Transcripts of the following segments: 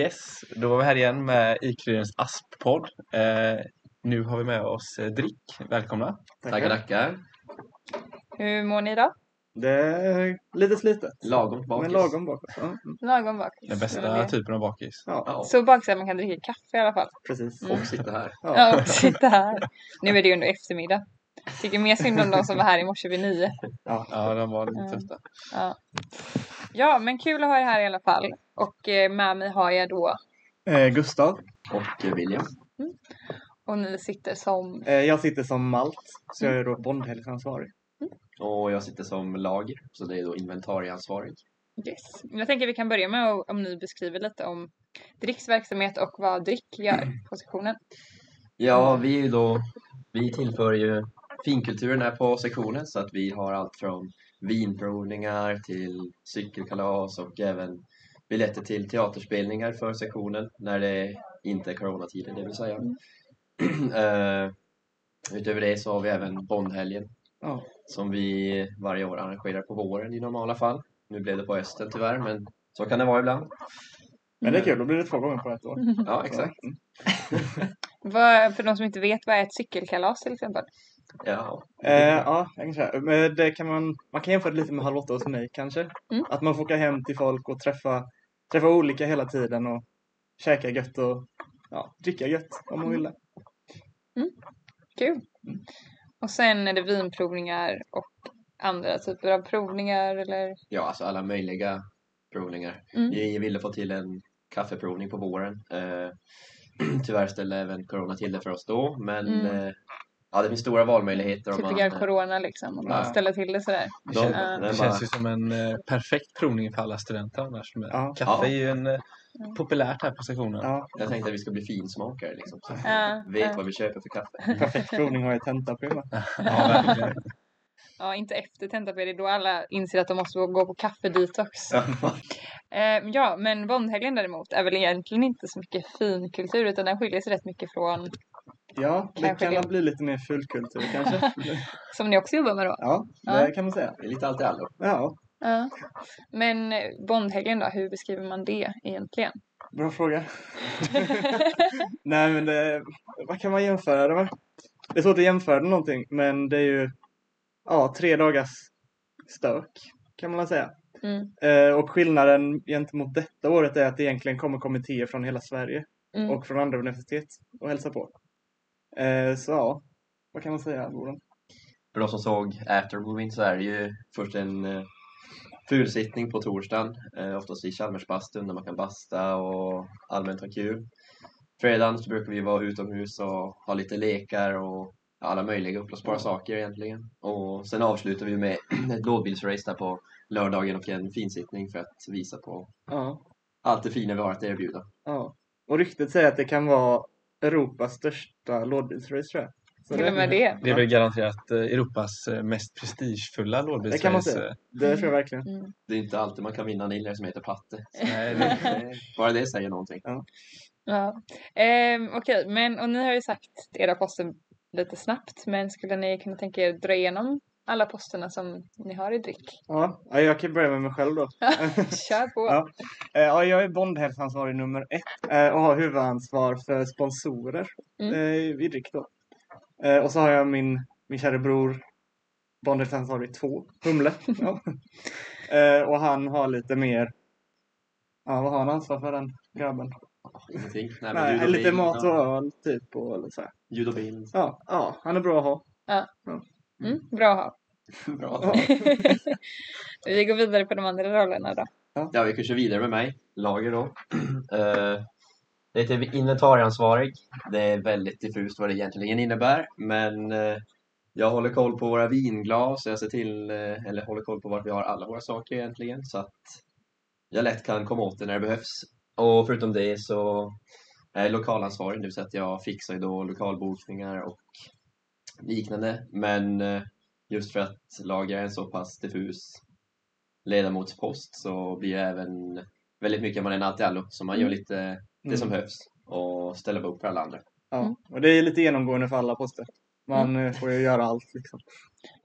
Yes, då var vi här igen med Ikryens Asppodd. Eh, nu har vi med oss eh, Drick. Välkomna! Tackar, Mm. tackar. Hur mår ni då? Det är lite slitet. Lagom bakis. Men lagom bakis. Ja, mm. Lagom bakis? Den bästa Eller det? typen av bakis. ja Ja, Så bakis att man kan dricka kaffe i alla fall. precis. Mm. och sitta här. Ja, Ja. och sitta här. Nu är det ju ändå eftermiddag. Tycker mer synd om de som var här i morse vid nio. Ja, de var lite Mm. trötta. Ja, men kul att ha er här i alla fall. Och eh, med mig har jag då, Eh, Gustav, Och eh, William. och ni sitter som... eh, jag sitter som malt, så jag är då bondhelgsansvarig. Och jag sitter som lager, så det är då inventarieansvarig. Yes. Jag tänker vi kan börja med att- om ni beskriver lite om Dricks verksamhet och vad Drick gör, positionen. Ja, vi är ju då, vi tillför ju finkulturen här på sektionen så att vi har allt från vinprovningar till cykelkalas och även biljetter till teaterspelningar för sektionen när det inte är coronatider, det vill säga. Eh, Utöver det så har vi även Bondhelgen Ja. som vi varje år arrangerar på våren i normala fall. Nu blev det på hösten tyvärr, men så kan det vara ibland. Men det är kul, då blir det två gånger på ett år. Ja, exakt. Så, mm. Vad, för de som inte vet, vad är ett cykelkalas till exempel? Ja, Eh, ja, jag kan säga. Men det kan man, man kan jämföra det lite med Hallå åtta hos mig kanske. Mm. Att man får åka hem till folk och träffa, träffa olika hela tiden och käka gött och ja, dricka gött om man vill det. Kul. Och sen är det vinprovningar och andra typer av provningar eller? ja, alltså alla möjliga provningar. Mm. Vi ville få till en kaffeprovning på våren. Eh, tyvärr ställde även corona till det för oss då, men Mm. eh, ja, det finns stora valmöjligheter. Om Typical eh, Typ corona liksom, om Ja. man ställer till det sådär. Det de, känns, Ja. när det bara- känns ju som en eh, perfekt provning för alla studenter annars. Med. Ja. Kaffe Ja. är ju en, eh, populärt här på sektionen. Ja, jag tänkte att vi ska bli finsmakare liksom. Så att Ja, vi vet ja. vad vi köper för kaffe. perfekt provning har jag tenta på. va? Ja, verkligen. Ja, inte efter tenta det är då alla inser att de måste gå på kaffedetox. Eh, ja, men Bondhelgen däremot är väl egentligen inte så mycket finkultur utan den skiljer sig rätt mycket från, Ja, det Kanske kan det. väl bli lite mer fulkultur kanske. som ni också jobbar med då. Ja, Ja. det kan man säga. Det är lite allt i allo. Ja, Ja. Men eh, Bondhelgen då, hur beskriver man det egentligen? bra fråga. Nej, men det, vad kan man jämföra det med? Det är svårt att jämföra det med någonting, men det är ju ja, tre dagars stök kan man väl säga. Mm. Eh, och skillnaden gentemot detta året är att det egentligen kommer kommittéer från hela Sverige Mm. och från andra universitet och hälsa på. Eh, så ja, vad kan man säga? Gordon? För de som såg Aftermoving så är det ju först en eh, fulsittning på torsdagen, eh, oftast i Chalmersbastun där man kan basta och allmänt ha kul. Fredagen så brukar vi vara utomhus och ha lite lekar och alla möjliga upplösbara saker egentligen. Och sen avslutar vi med ett lådbilsrace där på lördagen och en finsittning för att visa på Ja, allt det fina vi har att erbjuda. ja. Och ryktet säger att det kan vara Europas största lådbilsrace tror jag. Så Till och med det. Det är väl garanterat eh, Europas eh, mest prestigefulla lådbilsrace. Det kan man säga. Det tror jag verkligen. Mm. Det är inte alltid man kan vinna en illare som heter Patte. Nej, det, Bara det säger någonting. Ja. Ehm, Okej, men och ni har ju sagt era poster lite snabbt, men skulle ni kunna tänka er att dra igenom alla posterna som ni har i drick? Ja, ja, jag kan börja med mig själv då. Kör på! Ja. Eh, Ja, jag är Bondhälsansvarig nummer ett eh, och har huvudansvar för sponsorer Mm. eh, i DRIK. Då. Eh, Och så har jag min, min kära bror Bondhälsansvarig två, Humle. ja. Eh, Och han har lite mer, ja vad har han ansvar för den grabben? Ingenting. Nej, men Nej, ljud och lite bild, mat och ja. öl typ. Och lite så här. Ljud och bild. Ja, ja, han är bra att ha. Mm, bra att ha. Bra. Vi går vidare på de andra rollerna då. Ja, vi kan köra vidare med mig, lager då. Eh, det heter inventarieansvarig. Det är väldigt diffust vad det egentligen innebär, men eh, jag håller koll på våra vinglas, jag ser till, eh, eller håller koll på vart vi har alla våra saker egentligen, så att jag lätt kan komma åt det när det behövs. Och förutom det så är jag lokalansvarig, det vill säga att jag fixar ju då lokalbokningar och liknande, men eh, just för att lager är en så pass diffus ledamotspost så blir det även väldigt mycket man är en allt i allo. Så man gör lite det som behövs och ställer upp för alla andra. Ja. Mm. Och det är lite genomgående för alla poster. Man eh, får ju göra allt liksom.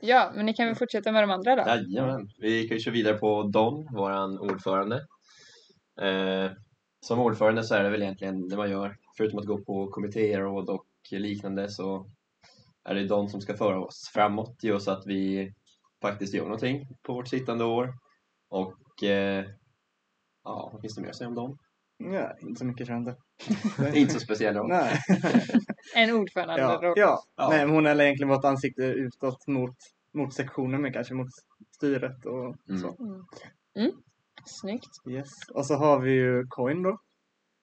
Ja, men ni kan väl fortsätta med de andra då? Jajamän. Vi kan ju köra vidare på Don, våran ordförande. Eh, som ordförande så är det väl egentligen det man gör. Förutom att gå på kommittéråd och liknande så är det de som ska föra oss framåt, ge oss att vi faktiskt gör någonting på vårt sittande år. Och eh, ja, vad finns det mer att säga om dem? Nej, inte så mycket tror jag inte. Inte så speciella. roll. Nej. En ordförande. Ja, då. ja. Ja. Nej, men hon är egentligen bara ett ansikte utåt mot, mot sektionen men kanske mot styret och Mm. så. Mm. Mm. Snyggt. Yes. Och så har vi ju Coin då.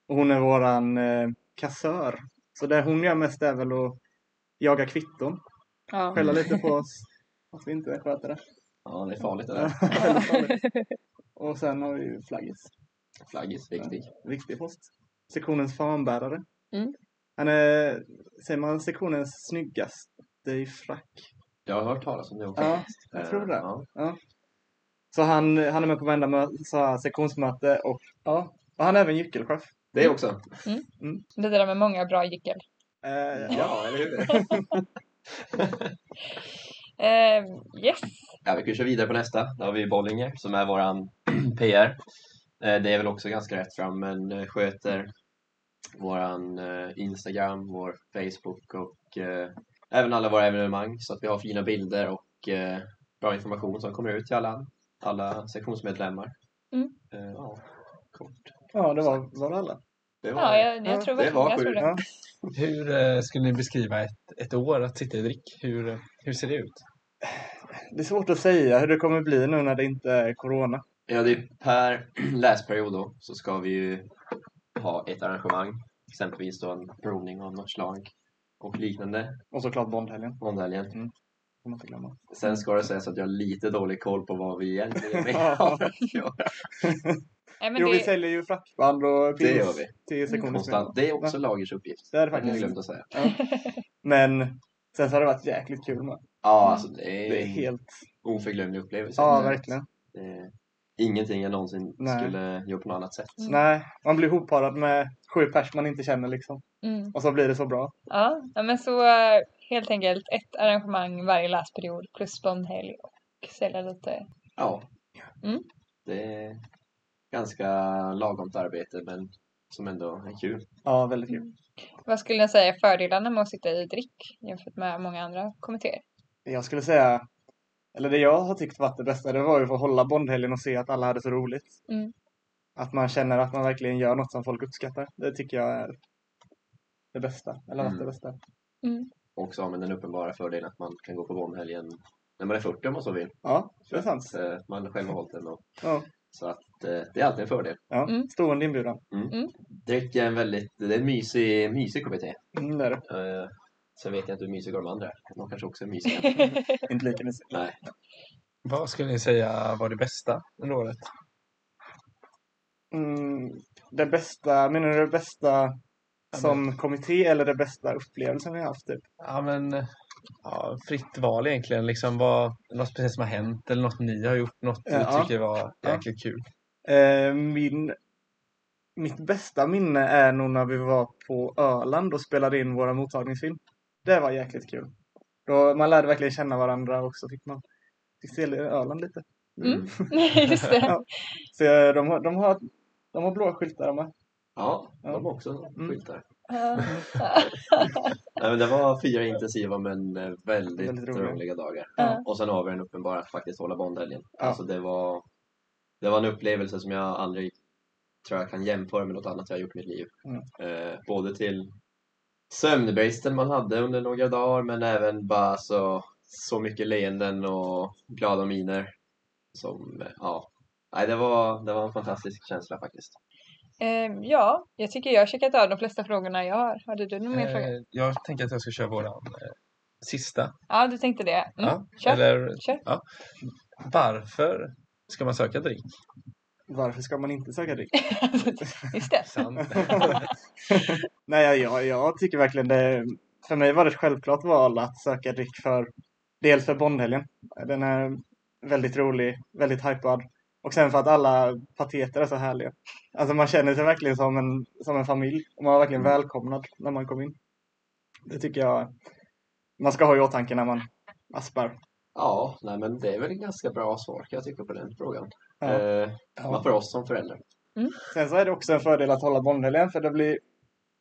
Och hon är våran eh, kassör. Så det hon gör mest är väl att jaga kvitton. Ja. Skälla lite på oss att vi inte sköter det. Ja, det är farligt det där. Väldigt farligt. och sen har vi ju Flaggis. Flaggis, viktig. Viktig post. Sektionens fanbärare. Mm. Han är, säger man, sektionens snyggaste i frack. Jag har hört talas om det också. Ja, jag tror det. Eh, Ja. Så han, han är med på varenda mö- så här, sektionsmöte och, ja, och han är även gyckelchef. Det också. Det där med många bra gyckel. Eh, ja. Ja, eller hur? Eh, yes. Ja, vi kan köra vidare på nästa. Där har vi Bollinger som är våran PR. Eh, Det är väl också ganska rätt fram men eh, sköter våran eh, Instagram, vår Facebook och eh, även alla våra evenemang så att vi har fina bilder och eh, bra information som kommer ut till alla, alla sektionsmedlemmar. Mm. Eh, Ja, kort. ja, det var, var det alla. Det var Ja, det. jag, jag Ja, tror det verkligen- var jag tror sjukt. det. Ja. Hur eh, skulle ni beskriva ett, ett år att sitta i drick? Hur, eh, hur ser det ut? Det är svårt att säga hur det kommer bli nu när det inte är corona. Ja, det är per läsperiod då så ska vi ju ha ett arrangemang, exempelvis då en provning av något slag och liknande Och såklart Bondhelgen, måndaghelgen. får man inte glömma. Sen ska det sägas att jag har lite dålig koll på vad vi egentligen har att göra. Nej, men jo, vi det, Mm. säljer ju frackband och Det gör vi. till sektionens Konstant. Det är också lagers uppgift. Det är det har jag faktiskt. glömt att säga. Men sen så har det varit jäkligt kul med. Ja, alltså det Det är är en helt... oförglömlig upplevelse. Ja, verkligen. Det är ingenting jag någonsin Nej. skulle göra på något annat sätt. Mm. Nej, man blir hopparad med sju pers man inte känner liksom. mm, Och så blir det så bra. ja, ja, men så eh, helt enkelt ett arrangemang varje läsperiod plus bondhelg och sälja lite. Ja. Mm. Det är ganska lagomt arbete, men som ändå är kul. Ja, väldigt Mm. kul. Vad skulle jag säga är fördelarna med att sitta i drick jämfört med många andra kommittéer? Jag skulle säga, eller det jag har tyckt varit det bästa, det var ju att få hålla Bondhelgen och se att alla hade så roligt. Mm. Att man känner att man verkligen gör något som folk uppskattar. Det tycker jag är det bästa. Eller varit Mm. det bästa. Mm. Och så har man den uppenbara fördelen att man kan gå på Bonnhelgen när man är 40 om man så vill. Ja, det är sant. Så att man själv har hållit den. Och, Ja, så att eh, det är alltid en fördel. ja. Mm. Stående inbjudan. Dryck är en väldigt, det är en mysig, mysig kommitté. Mm, det är det. Eh, sen vet jag inte hur mysiga de andra är. De kanske också är mysiga. Inte lika mysigt. Nej. Vad skulle ni säga var det bästa under året? Mm, det bästa, menar du det bästa som kommitté eller det bästa upplevelsen vi har haft? Typ? Ja, men ja, fritt val egentligen. Liksom vad, något speciellt som har hänt eller något ni har gjort. Något ni Ja. tycker var Ja. jäkligt kul. Eh, min, mitt bästa minne är nog när vi var på Öland och spelade in våra mottagningsfilm. Det var jäkligt kul. Då, man lärde verkligen känna varandra och så fick man fick se Öland lite. Mm. Just det. Ja. Så eh, de, har- de, har, de har blåa skyltar de med. Ja, de har Ja. Mm. också skyltar. Ja. Nej, men det var fyra intensiva men eh, väldigt, Väldigt roliga. roliga. dagar. Ja. Och sen har vi den uppenbara att faktiskt hålla Bondhelgen. Ja. Alltså det var, det var en upplevelse som jag aldrig tror jag kan jämföra med något annat jag har gjort i mitt liv. Mm. Eh, både till sömnbristen man hade under några dagar men även bara så, så mycket leenden och glada miner. Som, eh, ja. Nej, det, var, det var en fantastisk känsla faktiskt. Ehm, ja, jag tycker jag har checkat av de flesta frågorna jag har. Hade du någon mer fråga? Eh, jag tänker att jag ska köra våran eh, sista. Ja, du tänkte det. Mm, Ja, kör. eller, kör. Ja. Varför ska man söka drick? Varför ska man inte söka dit? Just det. Sant. Nej, jag, jag tycker verkligen det. För mig var det ett självklart val att söka dryck för dels för Bondhelgen. Den är väldigt rolig, väldigt hypad. Och sen för att alla pateter är så härliga. Alltså man känner sig verkligen som en, som en familj. Och man var verkligen Mm. välkomnad när man kom in. Det tycker jag man ska ha i åtanke när man aspar. Ja, nej, men det är väl en ganska bra svar kan jag tycka på den frågan. Ja. Eh, Ja. Men för oss som föräldrar. Mm. Sen så är det också en fördel att hålla Bondhelgen för det blir,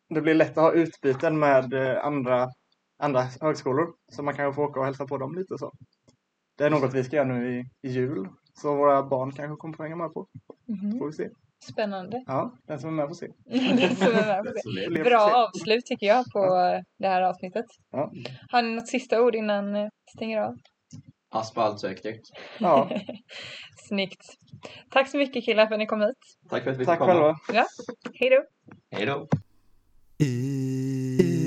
det blir lätt att ha utbyten med eh, andra, andra högskolor. Så man kan ju få åka och hälsa på dem lite så. Det är något vi ska göra nu i, i jul. Så våra barn kanske kommer få hänga med på. Mhm. Får vi se. Spännande. Ja, den som är med får se. Det som är med på det. Elever får Bra se. avslut tycker jag på eh, det här avsnittet. Ja. Har ni något sista ord innan eh, vi stänger av? Asfaltsökdäck. Ja, Snyggt. Tack så mycket killar för att ni kom hit. Tack för att vi fick tack komma. själva. Ja. Hej då! Hej då. Ooh.